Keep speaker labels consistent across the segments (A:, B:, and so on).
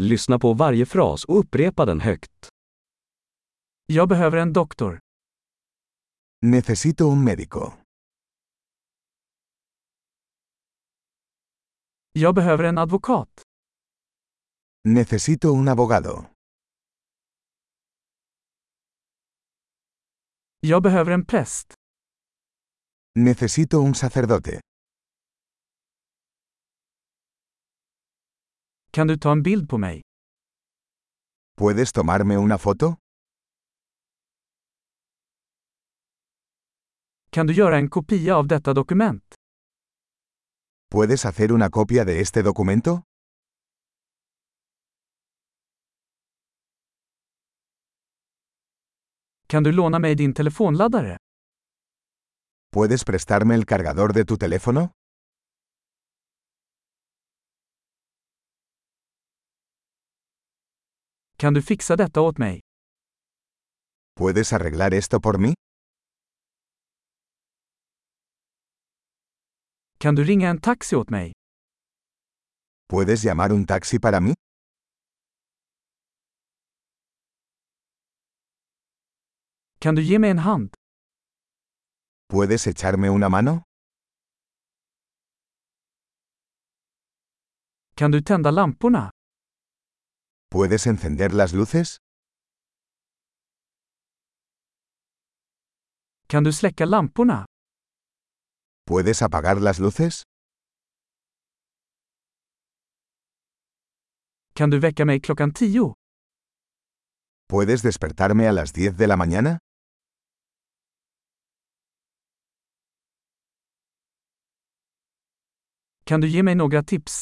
A: Lyssna på varje fras och upprepa den högt.
B: Jag behöver en doktor.
C: Necesito un médico.
B: Jag behöver en advokat.
C: Necesito un abogado.
B: Jag behöver en präst.
C: Necesito un sacerdote.
B: Kan du ta en bild på mig?
C: ¿Puedes tomarme una foto?
B: Kan du göra en kopia av detta dokument?
C: ¿Puedes hacer una copia de este documento?
B: Kan du låna mig din telefonladdare?
C: ¿Puedes prestarme el cargador de tu teléfono?
B: Kan du fixa detta åt mig?
C: ¿Puedes arreglar esto por mí?
B: Kan du ringa en taxi åt mig?
C: ¿Puedes llamar un taxi para mí?
B: Kan du ge mig en hand?
C: ¿Puedes echarme una mano?
B: Kan du tända lamporna?
C: ¿Puedes encender las luces?
B: Kan du släcka lamporna?
C: ¿Puedes apagar las luces?
B: Kan du väcka mig klockan tio?
C: ¿Puedes despertarme a las 10 de la mañana?
B: Kan du ge mig några tips?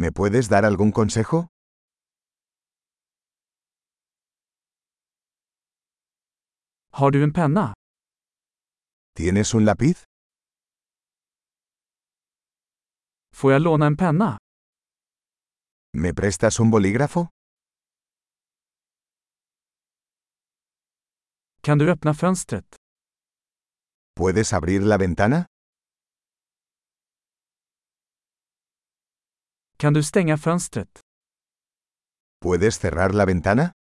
C: ¿Me puedes dar algún consejo?
B: Har du en penna?
C: ¿Tienes un lápiz?
B: Får jag låna en penna?
C: ¿Me prestas un bolígrafo?
B: Kan du öppna fönstret?
C: ¿Puedes abrir la ventana?
B: Kan du stänga fönstret?
C: ¿Puedes cerrar la ventana?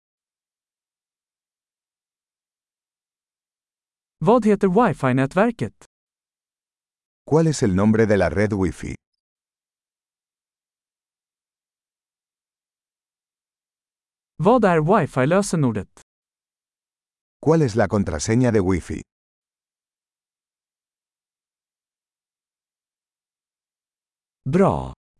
B: Vad heter wifi-nätverket?
C: ¿Cuál es el nombre de la red Wi-Fi?
B: Vad är wifi-lösenordet?
C: ¿Cuál es la contraseña de Wi-Fi?
A: Bra!